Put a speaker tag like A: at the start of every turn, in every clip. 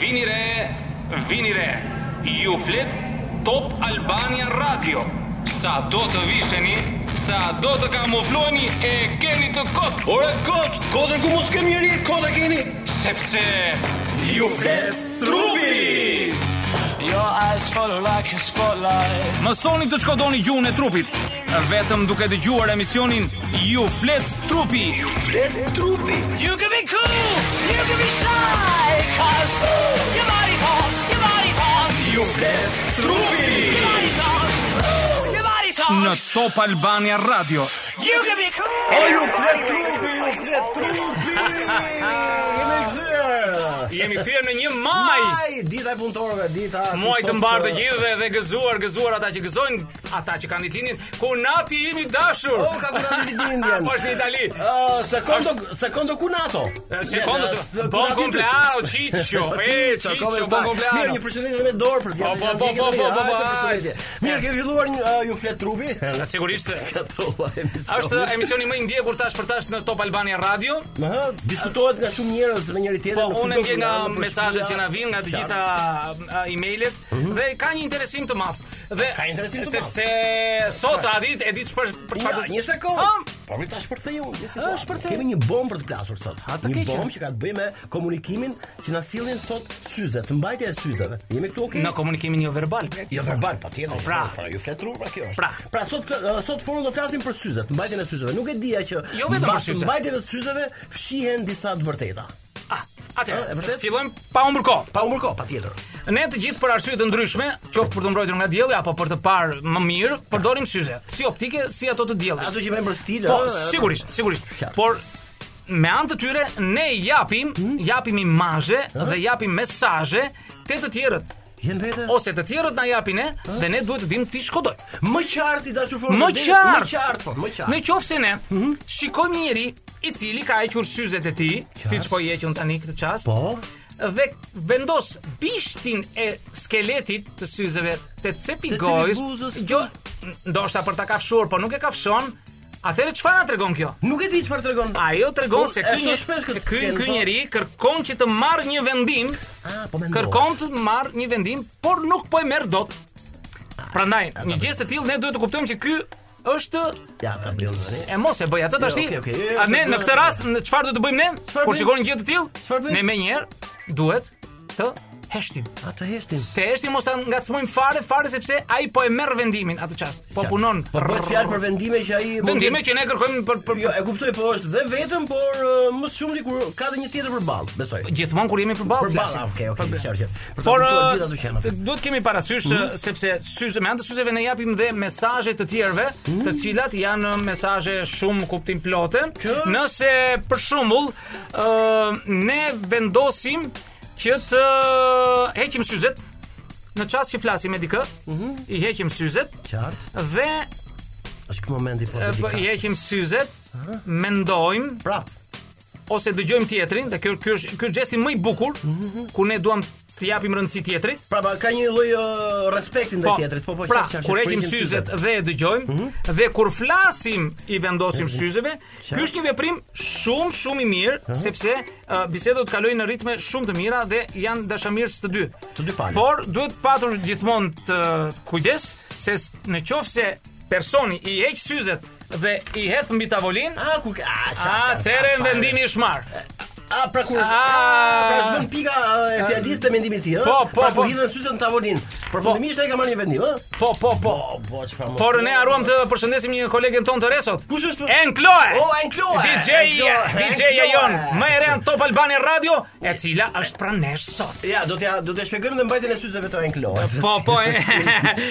A: Vini re, vini re. Ju flet Top Albania Radio. Sa do të visheni, sa do të kamufloheni e keni të kot,
B: Ore kot, kotën ku mos kemi njëri, kot e keni.
A: sepse
C: Ju flet trupi
D: Your eyes follow like a spotlight.
C: Mësoni të shkodoni gjuhën e trupit Vetëm duke dëgjuar emisionin Ju flet trupi
B: Flet trupi.
D: You can be cool, you can be shy, cause ooh, your body talks, your body talks,
C: Ju flet
D: your
C: trupi
D: body talks, ooh, your body
C: Në
D: talks.
C: Top Albania Radio
D: You can be cool.
E: O ju flet trupi, ju flet trupi. Jemi kthyer.
C: Jemi thirrë në një maj
E: Ai, dita e punëtorëve, dita.
C: Muaj të mbarë të gjithë dhe, dhe gëzuar, gëzuar ata që gëzojnë, ata që kanë ditëlindjen, ku nati jemi dashur.
E: O, Oh, ka kurani ditëlindjen.
C: Po është në Itali.
E: Ë, sekondo, sekondo kunato.
C: Sekondo,
E: Eh, eh,
C: bon
E: Kunato
C: compleanno, Ciccio.
E: Po,
C: E
E: Ciccio,
C: Ciccio,
E: come
C: bon
E: stai? Mirë, një
C: compleanno.
E: përshëndetje me dorë për të
C: Po,
E: gjithë.
C: po, po, po, po, po, po,
E: hajde,
C: po,
E: përshëndetje. Mirë, ke filluar një eh, ju flet trupi.
C: Sigurisht se
E: Katolla emisioni.
C: është emisioni më i ndjekur tash për tash në Top Albania Radio.
E: Aha, diskutohet nga shumë njerëz me njëri
C: Po
E: tjetrin.
C: unë ndjej nga mesazhet që na vijnë nga të gjitha a, emailet dhe ka një interesim të madh. Dhe
E: Mhm. Ka interesim të madh.
C: sepse sot a ditë e di çfarë për
E: Ja,
C: çfarë.
E: një sekond.
C: Ah,
E: Po mi tash për thejun, një sekond.
C: Është për të-
E: Kemi një bombë për të plasur sot.
C: A, të
E: Një
C: keqen.
E: bombë që ka të bëjë me komunikimin që na sillin sot syze, të mbajtja e syzeve. Jemi këtu okay?
C: Në komunikimin jo verbal.
E: Jo verbal, patjetër.
C: pra.
E: pra ju flet rrugë pra kjo. është.
C: Pra.
E: pra sot fl- uh, sot forum do flasim për syzet, mbajtjen e syzeve. Nuk e dija që
C: Jo vetëm për
E: mbas
C: syze.
E: mbajtjeve të syzeve fshihen disa të vërteta.
C: Ah,
E: Ah, e
C: atëherë,
E: vërtet?
C: fillojmë pa humbur kohë.
E: Pa umërko, patjetër.
C: Ne të gjithë për arsye të ndryshme, qoftë për të mbrojtur nga dielli apo për të parë më mirë, përdorim syze, si optike, si ato të diellit.
E: Ato që bëjmë për stil. uh,
C: Po,
E: ë,
C: sigurisht, sigurisht.
E: Qartë.
C: Por me anë të tyre ne japim,
E: Hmm?
C: japim imazhe dhe japim mesazhe te të tjerët.
E: Jenë vete.
C: Ose të tjerët na japin ne dhe ne duhet të dimë ti shkodoj.
E: Më qartë i dashur forum.
C: Më qartë.
E: Më qartë, po, më qartë.
C: Në qoftë se ne
E: Hmm?
C: shikojmë një njeri i cili ka hequr syzet e tij, siç po i hequn tani këtë çast.
E: Po.
C: Dhe vendos bishtin e skeletit të syzeve te cepi
E: Te cepi
C: gojës.
E: buzës.
C: Jo, ndoshta për ta kafshuar, po nuk e kafshon. Atëherë çfarë na tregon kjo?
E: Nuk e di çfarë tregon.
C: Ajo tregon
E: Unë
C: se
E: e
C: ky
E: shoh shpesh
C: një
E: këtë
C: ky
E: skenë,
C: ky
E: po.
C: njeri kërkon që të marr një vendim,
E: Ah, po mendoj.
C: kërkon të marr një vendim, por nuk po e merr dot. Prandaj, një gjë të tillë ne duhet të kuptojmë që ky është
E: Ja, ta bëjmë tani.
C: e mos e bëj atë tash.
E: Jo, okay, okay.
C: A ne në këtë rast në çfarë do të bëjmë ne?
E: Çfarë
C: Kur
E: bëjmë?
C: shikojmë një gjë të
E: Çfarë
C: tillë,
E: bëjmë?
C: ne më njëherë duhet të heshtim.
E: Atë heshtin.
C: Të heshtim mos ta ngacmojmë fare, fare sepse ai po e merr vendimin atë çast. Po punon.
E: Po bëhet fjalë për vendime që ai
C: vendime që ne kërkojmë për për
E: Jo, e kuptoj, po është dhe vetëm, por ë, më shumë dikur ka dhe një tjetër përballë, besoj.
C: gjithmonë kur jemi përballë
E: Përballë,
C: flasim.
E: ah, okay, okay,
C: Përballë.
E: qartë, qartë. Për ta
C: Por
E: kuptuar gjithë
C: eh,
E: ato qenat.
C: t- duhet kemi parasysh eh,
E: Mhm.
C: sepse syze me anë të syzeve ne japim dhe mesazhe të tjerëve,
E: Mhm.
C: të cilat janë uh, mesazhe shumë kuptim plotë.
E: Që-
C: Nëse për shembull, ë ne vendosim që të uh, heqim syzet në çast që flasim me dikë,
E: Mhm.
C: i heqim syzet
E: Qartë.
C: dhe
E: Është ky momenti po
C: eh, po, i
E: delikat.
C: heqim syzet,
E: Ah.
C: mendojmë
E: Prap.
C: ose dëgjojmë tjetrin, dhe kjo ky është ky është gjesti më i bukur
E: Mhm.
C: ku ne duam të japim rëndësi tjetrit.
E: Prap pra, ka një lloj ë, respekti ndaj tjetrit, po Mhm. po.
C: pra,
E: qartë, qartë,
C: kur
E: qartë,
C: heqim
E: heqim
C: syzet dhe e dëgjojmë dhe kur flasim i
E: Mhm.
C: vendosim syzeve, ky është një veprim shumë shumë i mirë
E: Mhm.
C: sepse uh, bisedat kalojnë në ritme shumë të mira dhe janë dashamirës të dy.
E: Të dy palët.
C: Por duhet patur gjithmonë të kujdes se s- në qoftë se personi i heq syzet dhe i hedh mbi tavolinë,
E: Ah, ku ah, qartë, qartë,
C: atëherë
E: ah, sa-
C: vendimi është marr.
E: Ah, pra kur.
C: Ah.
E: Ah, pra shvon pika ë, e fjalisë të mendimit të tij, ë?
C: Po, po,
E: Pra
C: po.
E: kur hidhen syzet në tavolinë. Përfundimisht ai ka marrë një vendim, ë?
C: Po, po, po.
E: Po, po, çfarë. mos-
C: Por ne haruam të përshëndesim një kolegen ton të resot.
E: Kush është?
C: Enkloe.
E: O, Enkloe!
C: DJ
E: Enkloe,
C: DJ e
E: Enkloe!
C: jon, më e re në Top Albania Radio, e cila është pranë nesh sot.
E: Ja, do t'ja do t'ja shpjegojmë dhe mbajtjen e syzeve të Enkloes.
C: Po, po. e-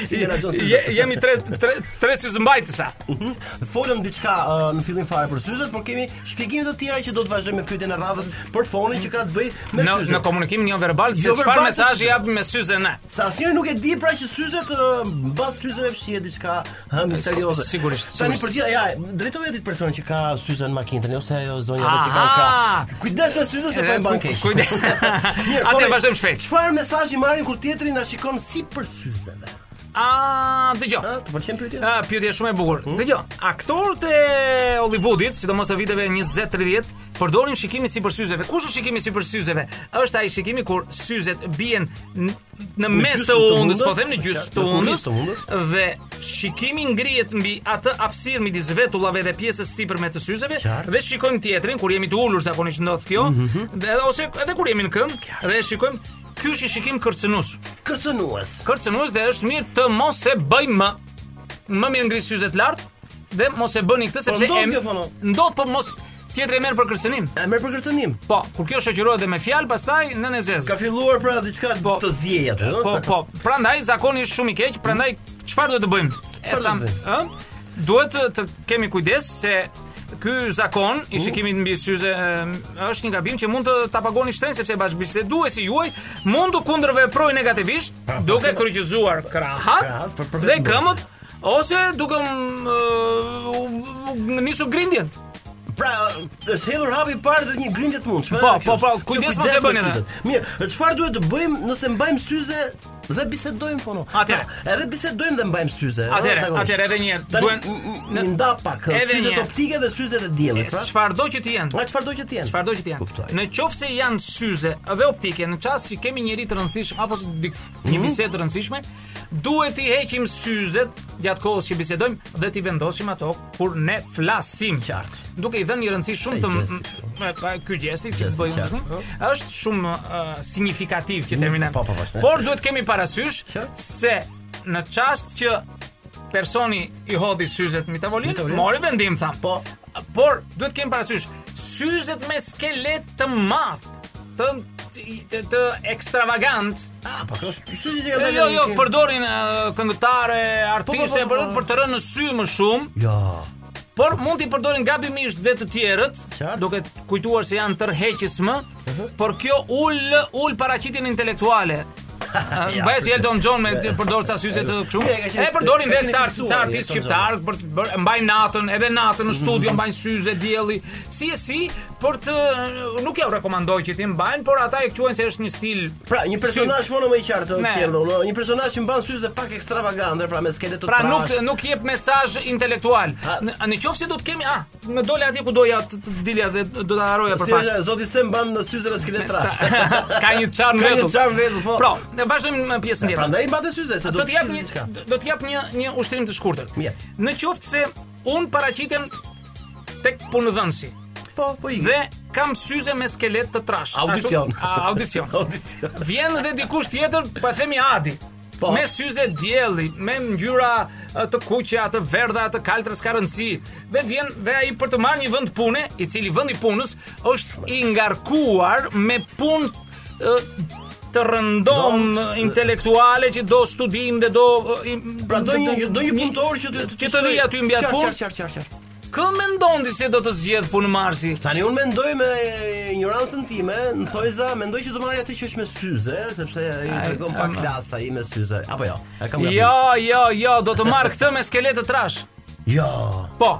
E: si menaxhon syzet.
C: Je- Jemi tre tre tre syzmbajtësa.
E: Mhm. Folëm diçka ë, në fillim fare për syzet, por kemi shpjegime të tjera që do të vazhdojmë me pyetjen e radhës për fonin që ka të bëjë me
C: Në
E: syzet.
C: në komunikimin jo verbal, se
E: Jo
C: çfarë
E: verbal,
C: mesazhi japim me syze ne.
E: Sa asnjëri nuk e di pra që syzet ë, mbas syzeve fshihet diçka ha, misterioze.
C: S- sigurisht,
E: Tani
C: sigurisht.
E: për gjithë, ja, drejtohet atit person që ka syze në makinë tani ose ajo zonja
C: Aha!
E: vetë që ka në krah. Kujdes me syze se po e mban keq.
C: Kujde.
E: Mirë,
C: Atë
E: po,
C: vazhdojmë shpejt.
E: Çfarë mesazhi marrin kur tjetri na shikon si për syzeve?
C: A, dëgjoj.
E: A, të pëlqen pyetja?
C: Ah, pyetje shumë e bukur.
E: Hmm?
C: Dëgjoj, aktorët e Hollywoodit, sidomos të viteve 20-30, përdorin shikimin sipër syzeve. Kush është shikimi sipër syzeve? Është ai shikimi kur syzet bien n- në mes
E: gjysmë
C: të
E: të
C: undës, po
E: undës,
C: them në gjysmë të
E: në kurrizë të
C: undës, dhe shikimi ngrihet mbi atë hapësirë midis vetullave dhe pjesës sipërme të syzeve
E: Qartë. Mhm,
C: dhe shikojmë tjetrin kur jemi të ulur zakonisht ndodh kjo, dhe ose edhe kur jemi në këmbë dhe shikojmë Ky është i shikim kërcënues
E: Kërcënues.
C: kërcënues dhe është mirë të mos e bëj më. Më mirë ngris syzet lart dhe mos e bëni këtë sepse
E: Po ndodh
C: em-
E: kjo, thonë.
C: ndodh po mos tjetri e merr për kërcënim.
E: E merr për kërcënim.
C: Po, kur kjo shoqërohet dhe me fjalë, pastaj në nezez.
E: Ka filluar pra diçka
C: Po.
E: të zjej aty, ëh?
C: Po, po. Prandaj zakoni është shumë i keq, prandaj çfarë duhet të bëjmë? E
E: Çfarë
C: tham,
E: duhet
C: ë? Duhet të, të kemi kujdes se ky zakon i shikimit mbi syze ë, është një gabim që mund të ta pagoni shtrenjtë sepse bashkëbiseduesi juaj mund të kundërveprojë negativisht duke kryqëzuar
E: Krahat,
C: krahat
E: për- për
C: dhe
E: vetëm
C: këmbët ose duke m, ë, u- u- nisur grindjen.
E: Pra, është hedhur hapi i parë dhe një grindje të mundshme.
C: Po,
E: ëh, kjo
C: po, po,
E: është.
C: kujdes
E: Kjo
C: mos e
E: me
C: bëni,
E: syzet. Mirë, çfarë duhet të bëjmë nëse mbajmë syze dhe bisedojmë fono?
C: Atëherë.
E: Pra, edhe bisedojmë dhe mbajmë syze. ëh,
C: Atëherë,
E: zakonisht.
C: atëherë edhe një herë
E: Tani
C: duhen
E: n- n- nda pak ëh,
C: Edhe
E: syzet
C: një.
E: optike dhe syzet e diellit, pra.
C: çfarëdo që të jenë.
E: Nga çfarë do që të jenë?
C: Çfarëdo që të janë.
E: Kuptoj.
C: Në qoftë se janë syze dhe optike, në çast që kemi njëri të rëndësishëm apo s- dik-
E: Mhm.
C: një bisedë të rëndësishme, duhet i heqim syzet gjatë kohës që bisedojmë dhe t'i vendosim ato kur ne flasim.
E: Qartë.
C: Duke i dhënë një rëndësi shumë
E: Ai
C: të m-
E: gesti.
C: m- m- pa- ky gjesti që
E: Gesti,
C: bëjmë
E: qartë.
C: tani është shumë ë, signifikativ që themi ne.
E: po, po, po.
C: Por duhet kemi parasysh
E: Qartë.
C: se në çast që personi i hodhi syzet mbi tavolinë,
E: tavolinë.
C: mori vendim tham.
E: Po.
C: Por duhet kemi parasysh syzet me skelet të madh, të të, të ekstravagant.
E: Ah, po, kjo është syze që
C: Jo,
E: kanë.
C: jo, jo, përdorin uh, këngëtare, artiste
E: po, po,
C: për
E: po.
C: për të rënë në sy më shumë,
E: Jo.
C: por mund t'i përdorin gabimisht dhe të tjerët,
E: Qartë.
C: duke kujtuar se janë tërheqës më, por kjo ul ul paraqitjen intelektuale.
E: Ja,
C: Bëhet si
E: për-
C: Elton John me të përdor ca syze të kështu.
E: Ja, ka qenë-
C: E përdorin
E: ka
C: vetë
E: qenë
C: këta
E: fiksuar,
C: ca artistë
E: Elton John. Mhm.
C: shqiptar për të bërë mbajnë natën, edhe natën në studio mbajnë syze dielli. Si e si për të nuk ja u rekomandoj që ti mbajnë, por ata e quajnë se është një stil.
E: Pra, një personazh fono më i qartë të
C: Ne.
E: tjerë, do, një personazh që mban syze pak ekstravagante, pra me skele të
C: Pra
E: trash.
C: nuk nuk jep mesazh intelektual.
E: A-
C: Në në qoftë se do të kemi, a, më doli atje ku doja të të dilja dhe do ta haroja për
E: Si
C: pak.
E: është, zoti se mban në syze me skele të trash.
C: Ka një çarm
E: Ka një
C: vetë.
E: çarm vetë, po.
C: Pra, ne vazhdojmë me pjesën tjetër.
E: Prandaj i mbante syze se do
C: do të jap
E: diçka.
C: një do të jap një një ushtrim të shkurtër.
E: Mirë.
C: Në qoftë se un paraqitem tek punëdhënësi
E: Po, po i.
C: dhe kam syze me skelet të trash.
E: Audicion.
C: Ashtu- A, audicion.
E: Audicion.
C: Vjen dhe dikush tjetër, pa themi Adi.
E: Po.
C: Me syze dielli, me ngjyra e, të kuqja, të verdha, të kaltrës ka rëndësi. Dhe vjen dhe ai për të marrë një vend pune, i cili vendi punës është i ngarkuar me punë e, të rëndom e, intelektuale që do studim dhe do e, im-
E: Pra do
C: do-
E: një do një punëtor që të
C: që të rri aty mbi atë punë.
E: Qartë, qartë, qartë.
C: Kë mendon ti se do të zgjedh punëmarrësi?
E: Tani unë mendoj me ignorancën time, në thojza mendoj që do marrja atë që është me syze, sepse i tregon pak klas ai me syze. Apo jo? E kam gabim.
C: Jo, jo, jo, do të marr këtë me skeletë të trash.
E: Jo.
C: Po,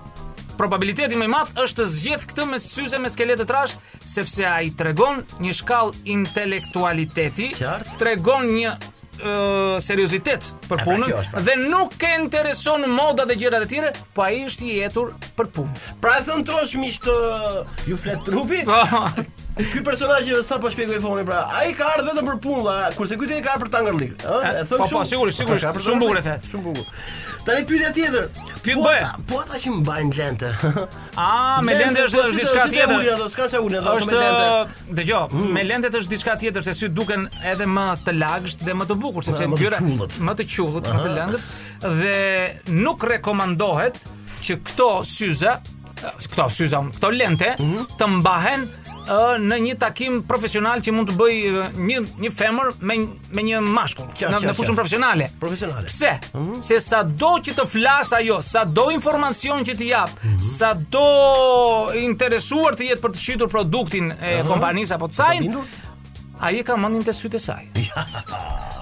C: probabiliteti më i madh është të zgjedh këtë me syze me skeletë trash, sepse ai tregon një shkallë intelektualiteti,
E: Qartë.
C: tregon një ë, seriozitet për
E: pra,
C: punën
E: kjo është, pra.
C: dhe nuk e intereson moda dhe gjërat e tjera, po ai është i jetur për punë.
E: Pra e thon trosh miq të ju flet trupi.
C: Po,
E: Ky personazh që sa po shpjegoj foni pra, ai ka ardhur vetëm për punë, vlla, kurse ky tjetër ka ardhur për tangerlik, ë?
C: E,
E: E thon
C: Eh, po, po, sigurisht, sigurisht,
E: Ka për
C: shumë bukur e
E: Tangerlik.
C: the.
E: Shumë bukur. Tani pyetja tjetër.
C: Pyet
E: po
C: bëhe.
E: ata, po ata që mbajnë lente.
C: A, me lente është
E: po, si
C: është
E: të-
C: diçka
E: si të ulin
C: tjetër.
E: ato, S'ka çka ulin ato me
C: Është eh, uh,
E: lente. Mm.
C: dëgjoj, me lentet është diçka tjetër se sy duken edhe më të lagësht dhe më të bukur sepse
E: Ma, Po, më të
C: gjëra
E: qullët.
C: më të qullët, më të lëngët dhe nuk rekomandohet që këto syze, uh, këto syze, unë, këto lente
E: Mhm.
C: të mbahen ë, në një takim profesional që mund të bëj ë, një një femër me një- me një mashkull në,
E: Qartë, qartë,
C: në fushën
E: qartë.
C: profesionale.
E: Profesionale.
C: Pse?
E: Mhm.
C: Se sa do që të flas ajo, sa do informacion që të jap,
E: Mhm.
C: sa do interesuar të jetë për të shitur produktin e
E: Mhm.
C: kompanisë apo të sajnë,
E: Bindur?
C: ai e ka mendin te sytë e saj.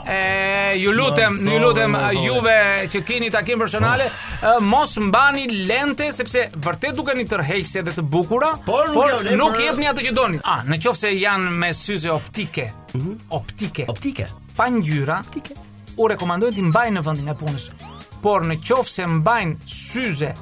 C: E, ju lutem,
E: Mësove,
C: ju lutem
E: mësove.
C: juve që keni takim personale,
E: Oh.
C: e, mos mbani lente sepse vërtet dukeni tërheqëse dhe të bukura,
E: Por nuk ja vlen
C: nuk
E: për-
C: jepni atë që doni. A, në
E: Mhm.
C: qoftë se janë me syze optike, optike,
E: Optike.
C: pa ngjyra,
E: Optike.
C: u rekomandojnë t'i mbajnë në vendin e punës. Por në qoftë se mbajnë syze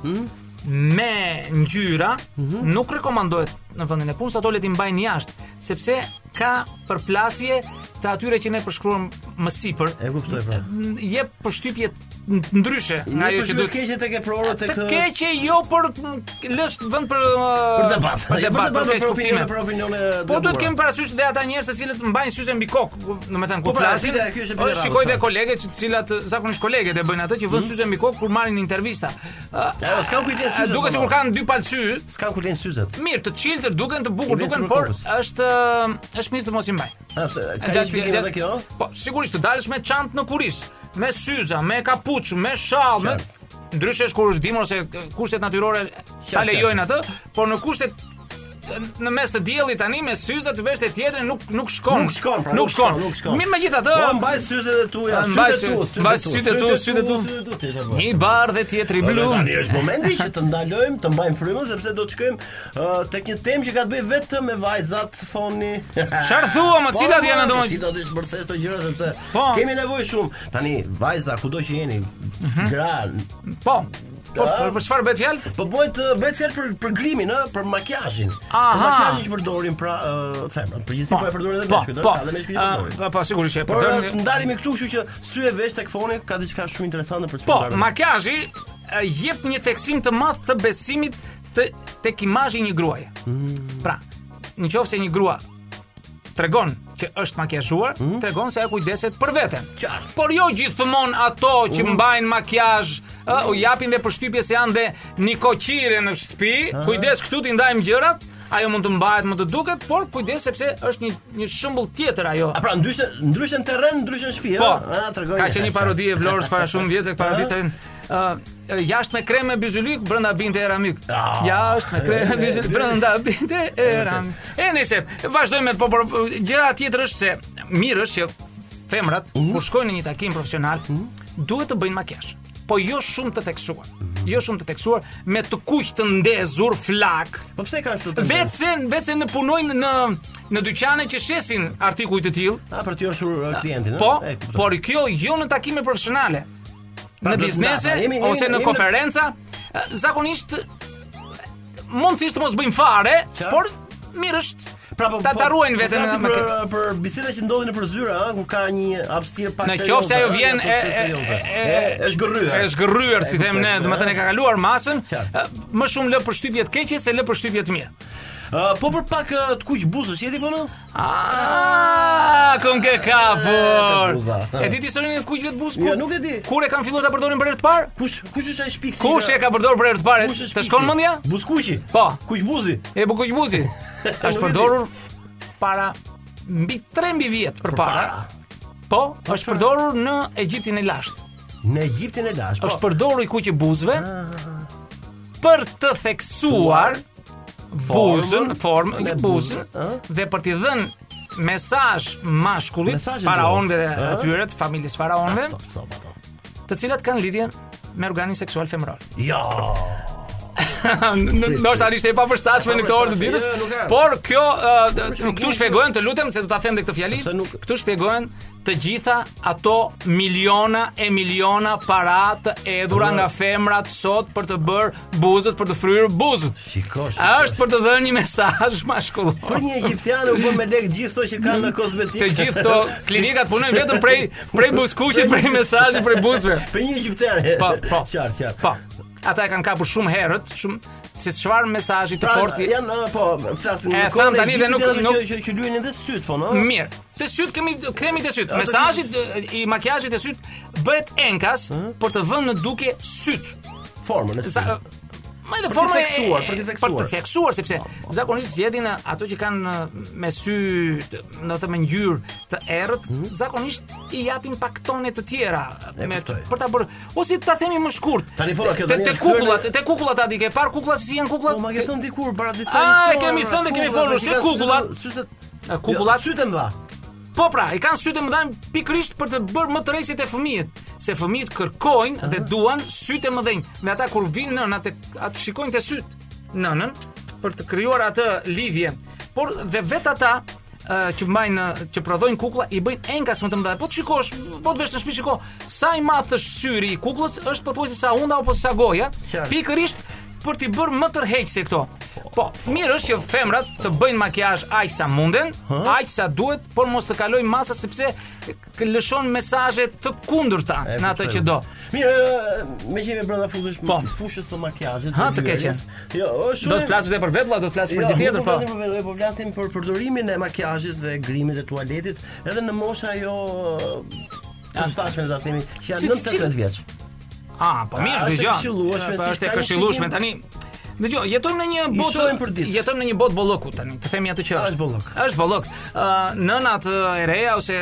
C: me ngjyra, nuk rekomandohet në vendin e punës, ato le t'i mbajnë jashtë, sepse ka përplasje të atyre që ne përshkruam më sipër,
E: E kuptoj pra.
C: n- jep përshtypje n- ndryshe nga ajo që
E: duhet
C: duhet
E: të keqe tek e prorë tek
C: Të keqe jo për m, lësh vend për uh,
E: për debat.
C: për
E: Ja,
C: debat, për keq
E: për
C: kuptime.
E: opinione, për opinione.
C: Po duhet
E: të
C: kemi parasysh dhe ata njerëz të cilët mbajnë syze mbi kokë, do të thënë ku
E: Po, pra,
C: flasin.
E: ide, kjo është e
C: o,
E: Belerabës,
C: Shikoj dhe
E: pra. Mhm.
C: kolegët, të cilat zakonisht kolegët e bëjnë atë që vënë syze mbi kokë kur marrin intervista. Ë,
E: Ja, s'kan Eh, ku i lënë
C: ë,
E: syzet.
C: Duket
E: ama.
C: sikur kanë dy palë sy,
E: S'kan ku i lënë syzet.
C: mirë, të çiltër duken, të
E: I
C: bukur
E: vjen
C: duken,
E: sipër
C: por
E: kokës.
C: është ë, është mirë të mos i mbaj.
E: A, Ah, pse,
C: E,
E: Ka një
C: gjatë-
E: shpjegim
C: gjatë-
E: edhe kjo?
C: Po, sigurisht të dalësh me çantë në kuris, me syza, me kapuç, me shall, me ndryshe është kur është dimër ose e, kushtet natyrore ta
E: Qartë,
C: lejojnë atë, por në kushtet e, në mes të diellit tani me syza të vesh të tjetrin nuk nuk shkon.
E: Nuk shkon, pra,
C: nuk shkon.
E: nuk shkon.
C: Mirë megjithatë,
E: Po mbaj syzet e tuja,
C: A, mbaj
E: syzet e tu,
C: sy- mbaj sytet tu, sytet tu. një bar dhe tjetri
E: Blu.
C: blu.
E: Tani është momenti që të ndalojmë, të mbajmë frymën sepse do të shkojmë ë, tek një temë që ka të bëjë vetëm me vajzat foni. Po,
C: Çfarë thua, më, cilat janë ato, më-
E: Cilat është bërthes të gjëra sepse
C: Po.
E: kemi nevojë shumë. Tani vajza kudo që jeni,
C: Mhm.
E: gra,
C: Po. Po, për, për çfarë bëhet fjalë?
E: po bëhet ë, bëhet fjalë për për grimin, ë, për makiazhin.
C: Aha.
E: Për makiazhin që përdorin pra ë, femrat. Përgjithsisht po e përdorin edhe meshkujt, ë,
C: po.
E: edhe meshkujt e
C: Ah,
E: përdorin.
C: Po, po, sigurisht që e
E: Por eh,
C: përdorin.
E: të ndalemi këtu, kështu që sy e vesh tek foni ka diçka shumë interesante për
C: Po,
E: sfidtarët.
C: makiazhi e, jep një theksim të madh të besimit të tek imazhi i një gruaje. Pra, në qoftë se një grua tregon që është makijazhuar, tregon se ajo kujdeset për veten.
E: Qartë.
C: Por jo gjithmonë ato që mbajnë makijazh, ë, u japin dhe përshtypje se janë dhe një koqire në shtëpi, kujdes këtu ti ndajmë gjërat, ajo mund të mbahet, mund të duket, por kujdes sepse është një një shembull tjetër ajo.
E: A pra ndryshe ndryshe në terren, ndryshe në shtëpi,
C: Po,
E: a tregoj.
C: ka qenë një parodi e Vlorës para shumë vjetëve, parodisa ë Ah, jashtë me krem me byzylyk brenda binte e ramyk.
E: Ah.
C: Jashtë me krem me byzylyk brenda binte e ramyk. E nëse vazhdojmë me po por gjëra tjetër është se mirë është që femrat kur shkojnë në një takim profesional duhet të bëjnë makijazh. Po jo shumë të theksuar. Jo shumë të theksuar me të kuq të ndezur flak.
E: Po pse kanë këtë? tendencë?
C: Vetëse, vetëse në punojnë në në dyqane që shesin artikuj të tillë,
E: A për të joshur uh, klientin,
C: Po,
E: e, kuptoj.
C: por kjo jo në takime profesionale. Në
E: do të
C: biznese
E: ndata, jemi- jemi-
C: ose në
E: jemi në-
C: konferenca, eh, zakonisht eh, mundësisht të mos bëjmë fare,
E: Qartë.
C: por mirë është
E: pra po
C: ta- ta ruajnë veten
E: vetëm
C: me
E: për eh,
C: këtë.
E: për biseda që ndodhin nëpër zyra, ëh, ku ka një hapësirë pak
C: Në
E: serioze,
C: qoftë se ajo
E: ëh,
C: vjen
E: një
C: e e
E: hapësirë serioze.
C: e-
E: E, është gërryer.
C: Është gërryer si
E: E,
C: them ne,
E: kuptoj,
C: domethënë e
E: e.
C: ka kaluar masën,
E: Qartë.
C: eh, më shumë lë përshtypje të keqe se lë përshtypje të mira.
E: Ëh, po për pak ëh, të kuq buzësh, jeti fono?
C: Ah, kom ke kapur.
E: E, të buza.
C: E di ti historinë e kujtë buz
E: Jo, nuk e di.
C: Kur e kanë filluar ta përdorin për herë të parë?
E: Kush kush është ai shpik?
C: Kush e ka përdorur për herë të parë? Të shkon mendja?
E: Buzkuqi.
C: Po.
E: Kuq buzi.
C: E buku qbuzi është përdorur para mbi 3 mbi vjet
E: Pra,
C: përpara. Po, është përdorur në Egjiptin e lashtë.
E: Në Egjiptin e Po. lash.
C: Është përdorur i kuqi buzëve
E: Ah,
C: për të theksuar buzën,
E: Formën,
C: formën
E: dhe
C: e
E: buzën, ah.
C: buzën dhe për t'i dhënë mesazh mashkullit
E: Mesazhe
C: faraonëve dhe
E: do, ë?
C: atyre të familjes faraonëve,
E: Sop, sop Ah. ato.
C: të cilat kanë lidhje me organin seksual femëror.
E: Jo.
C: Ndoshta ishte e papërshtatshme në këtë orë të ditës,
E: Jo, nuk ka.
C: por kjo ë, d- këtu shpjegohen, të lutem se do ta them dhe këtë fjali.
E: Sepse nuk-
C: Këtu shpjegohen të gjitha ato miliona e miliona para të edhura nga femrat sot për të bërë buzët, për të fryrë buzët.
E: Shiko, shiko.
C: A është për të dhënë një mesazh
E: Për
C: mashkullor.
E: një egjiptian u bën me lek gjithë ato që kanë në kozmetikë.
C: Të gjithë këto klinikat punojnë vetëm prej prej buzkuqit, prej mesazhit, prej buzëve.
E: Për një egjiptian.
C: Po, po.
E: Qartë, qartë.
C: Po. Ata e kanë kapur shumë herët, shumë se çfarë mesazhi të
E: Pra,
C: fortë
E: janë ë, po flasin
C: E,
E: në
C: tham
E: kohën
C: tani dhe nuk-
E: Egjiptit, janë
C: nuk-
E: që- që që luajnë edhe syt po, fon, ë.
C: Mirë. Te syt kemi kthehemi te syt. Mesazhi e, i makiazhit te syt bëhet enkas për të vënë në dukje syt.
E: Formën e
C: Sa
E: syt.
C: Më edhe forma e-
E: theksuar, për t'i theksuar. Po,
C: Për të theksuar sepse zakonisht zgjedhin e, ato që kanë e, me sy, të- në të me ngjyrë të errët, zakonisht i japin pak tone të tjera
E: E
C: me
E: kuptoj.
C: për ta bërë ose ta themi më shkurt.
E: Tani fora kjo
C: Te-
E: tani
C: Te
E: është
C: kukullat,
E: kthyer
C: te kukullat aty ke par kukullat si janë kukullat?
E: Po ma ke thënë dikur para disa po,
C: A,
E: emisioneve,
C: e kemi thënë dhe kemi
E: kukullat,
C: folur,
E: që
C: si
E: ka
C: kukullat?
E: sytë- Syset.
C: E, kukullat?
E: Jo, Sytë e mëdha.
C: Po pra, i kanë sytë e mëdha pikërisht për të bërë më të rejsit e fëmijët, se fëmijët kërkojnë dhe duan sytë e mëdhenj. Dhe ata kur vinë nëna të atë shikojnë të sytë nënën për të krijuar atë lidhje. Por dhe vetë ata ë, ë, që mbajnë ë, që prodhojnë kukulla i bëjnë enkas më të mëdha. Po të shikosh, po të vesh në shtëpi shiko, sa i madh është syri i kukullës është pothuajse sa unda apo sa goja,
E: Qartë.
C: pikërisht për t'i bërë më tërheq se këto. Po, mirë është që femrat të bëjnë makiazh aq sa munden, aq sa duhet, por mos të kalojnë masa sepse k- lëshon mesazhe të kundërta
E: E,
C: në atë
E: kuptoj.
C: që do.
E: Mirë, e, me që jemi brenda fushës
C: Po.
E: fushës së makiazhit.
C: Ha,
E: të
C: të keqen.
E: hyrjes. Jo, është shumë.
C: Do të flasim edhe për vetë, vlla, do të flasim për
E: Jo,
C: ditë
E: nuk
C: tjetër,
E: po
C: po.
E: flasim për vetë, po flasim për përdorimin e makiazhit dhe grimit dhe tualetit, edhe në moshë ajo të shtashme do të themi, që
C: Si-
E: janë 9-18
C: si-
E: vjeç.
C: Ah, po mirë,
E: është e
C: dëgjoj.
E: këshillueshme,
C: Po
E: si
C: është e
E: shkallë
C: këshillueshme tani.
E: shikim.
C: Dëgjoj, jetojmë në një botë,
E: shohim për ditë.
C: jetojmë në një botë bolloku tani. Të themi atë që është.
E: Është bollok.
C: Është bollok. Ë nënat ë, e reja ose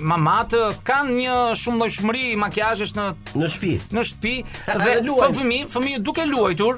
C: mamat ë, kanë një shumëllojshmëri makiazhesh në
E: Në shtëpi.
C: në shtëpi dhe
E: Dhe luajnë.
C: fëmijë, fëmijë duke luajtur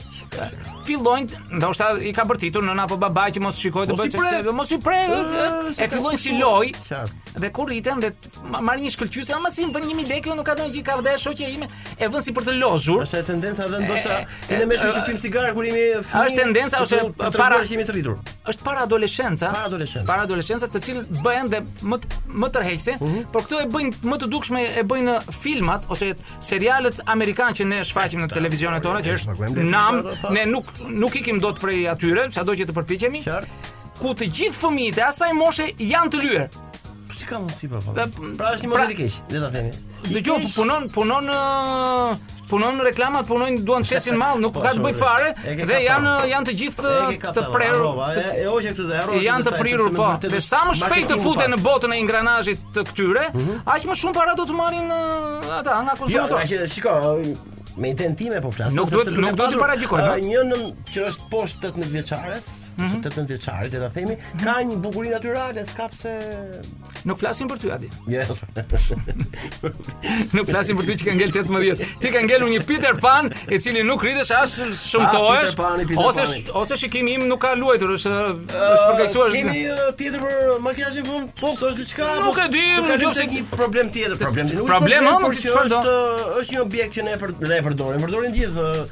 C: fillojnë, ndoshta i ka bërtitur nëna apo babai që mos shikoj të
E: Mos i
C: bëj
E: pre.
C: çfarë, mos i pre, e,
E: Ah, se
C: e
E: ka
C: fillojnë si
E: kuptuar.
C: loj.
E: Qartë.
C: Dhe kur rriten dhe t- ma- marrin një shkëlqyse, ama si më vën 1000 lekë, nuk ka ndonjë gjë, ka vdej shoqja ime, e vën si për të lozur.
E: Është e tendenca edhe ndoshta
C: E, e,
E: si ne mëshëm
C: e,
E: që pim cigare kur jemi fëmijë.
C: Është tendenca
E: për
C: ose
E: të- për të
C: para-
E: treguar që jemi të rritur.
C: Është para adoleshenca.
E: Para adoleshenca.
C: Para adoleshenca, të cilët bëhen dhe më t- më tërheqëse,
E: Mhm.
C: por këto e bëjnë më të dukshme e bëjnë filmat ose serialet amerikan që ne shfaqim në televizionet tona, që është
E: paguajmë lekë
C: nam,
E: për ato, po.
C: ne nuk nuk ikim dot prej atyre, sado që të përpiqemi.
E: Qartë.
C: ku të gjithë fëmijët e asaj moshe janë të lyer.
E: Po si ka mundsi pa pa.
C: Dhe-
E: Pra është
C: pra-
E: një model i keq, le ta themi. I
C: Dëgjoj,
E: keq-
C: po punon, punon ë, punon në reklama, punojnë duan të shesin mall, nuk
E: Po,
C: ka të bëj
E: shumë
C: fare
E: drejt. E ke
C: dhe
E: kaptën.
C: janë janë të gjithë
E: E
C: ë,
E: ke kapta,
C: të prerur.
E: harrova,
C: të-
E: e- e hoqe këtë dhe harrova këtë
C: janë të
E: detaj,
C: prirur
E: sepse
C: po.
E: me vërtet
C: Dhe
E: është
C: sa më shpejt të
E: marketingu
C: futen në
E: pas. Mhm.
C: botën e ingranazhit të këtyre, aq më shumë para do të marrin ë, ata nga
E: Jo,
C: konsumatorët.
E: që shiko, me inten time po flas.
C: Nuk
E: sepse
C: duhet-
E: duke
C: nuk duhet i
E: pasur,
C: paragjikoj,
E: ë,
C: po.
E: Një nën që është poshtë 18 vjeçares,
C: Mhm.
E: ose 18 vjeçarit, le ta themi, ka një bukuri natyrale, s'ka pse.
C: Nuk flasin për ty Adi.
E: Jo.
C: Nuk flasin për ty që ka ngel 18. Ti ka ngelur një Peter Pan, i cili nuk rritesh as
E: Ah,
C: shëmtohesh.
E: Peter Pani, Peter
C: Ose
E: Pani.
C: sh- ose shikimi im nuk ka luajtur, është është përgajsuar.
E: Kemi ë, tjetër për makiazhin vonë? Po, është diçka.
C: nuk
E: po,
C: e di,
E: nuk
C: në
E: kalojmë
C: qoftë
E: tek
C: se-
E: një problem tjetër, problem tjetër. Nuk është
C: Problem, ha,
E: por
C: mos i
E: që
C: çfarë do.
E: Është ë, është një objekt që ne për ne përdorim, përdorin gjithë. ë,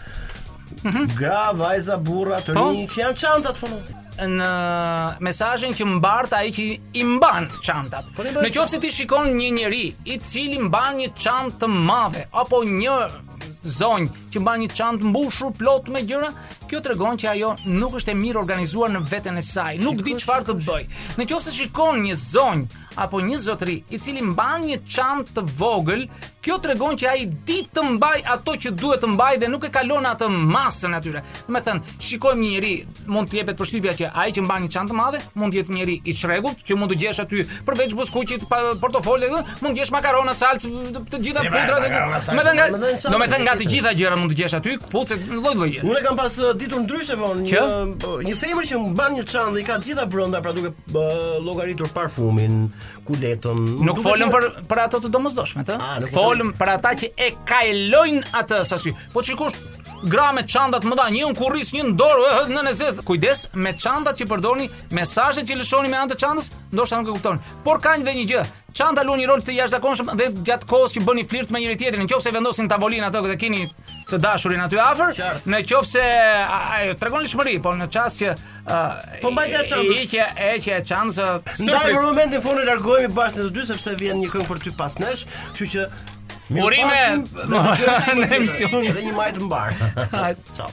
E: Gra, vajza, burra, të
C: Mhm. Po.
E: rinj, që janë çantat po. fono.
C: në mesazhin që mbart ai që i mban çantat.
E: Po ne bëjmë-
C: Në qoftë se ti shikon një njeri i cili mban një çantë të madhe apo një zonjë që mban një çantë mbushur plot me gjëra, kjo tregon që ajo nuk është e mirë organizuar në veten e saj, nuk di çfarë të bëj. Në qoftë se shikon një zonjë apo një zotëri i cili mban një çantë të vogël, kjo tregon që ai di të mbaj ato që duhet të mbaj dhe nuk e kalon atë masën atyre. Do të thënë, shikojmë një njeri, mund të jepet përshtypja që ai që mban një çantë të madhe, mund të jetë një njeri i çrregullt, që mund të gjesh aty përveç buzkuqit, pa- portofole, dhe, mund të gjesh makarona, salcë, të gjitha pudrat.
E: makarona, salcë,
C: Do të thënë,
E: do të thënë
C: do të thënë nga të gjitha gjërat mund të gjesh aty, kputucet, lloj-lloj gjëra.
E: Unë e kam pas uh, ditur ndryshe von një
C: Që?
E: uh, një femër që mban një çantë dhe i ka të gjitha brenda pra duke uh, llogaritur parfumin, kuletën.
C: Nuk folëm për për ato të domosdoshmet,
E: A,
C: ë.
E: nuk
C: Folëm për ata që e kajlojnë atë sasi. Po shikosh gra me çantat më dha, një në kurris, një në dorë, ë, në nezes. Kujdes me çantat që përdorni, mesazhet që lëshoni me anë të çantës, ndoshta nuk e kuptoni. Por ka edhe një gjë. Çanta luan një rol të jashtëzakonshëm dhe gjatë kohës që bëni flirt me njëri tjetrin, nëse vendosin tavolinë ato dhe keni të dashurin aty afër,
E: Qartë.
C: në qoftë se a- ajo tregon lëshmëri, po në çast që ë,
E: Po mbajtja e çantës.
C: i- Heqja, heqja e çantës. ë,
E: Ndaj
C: surprise.
E: për momentin fonë largohemi bashkë në të dy sepse vjen një këngë për ty pas nesh, kështu që
C: Urime!
E: mirupafshim dhe dëgjojmë
C: Në emision.
E: Edhe një majtë mbar. Ciao.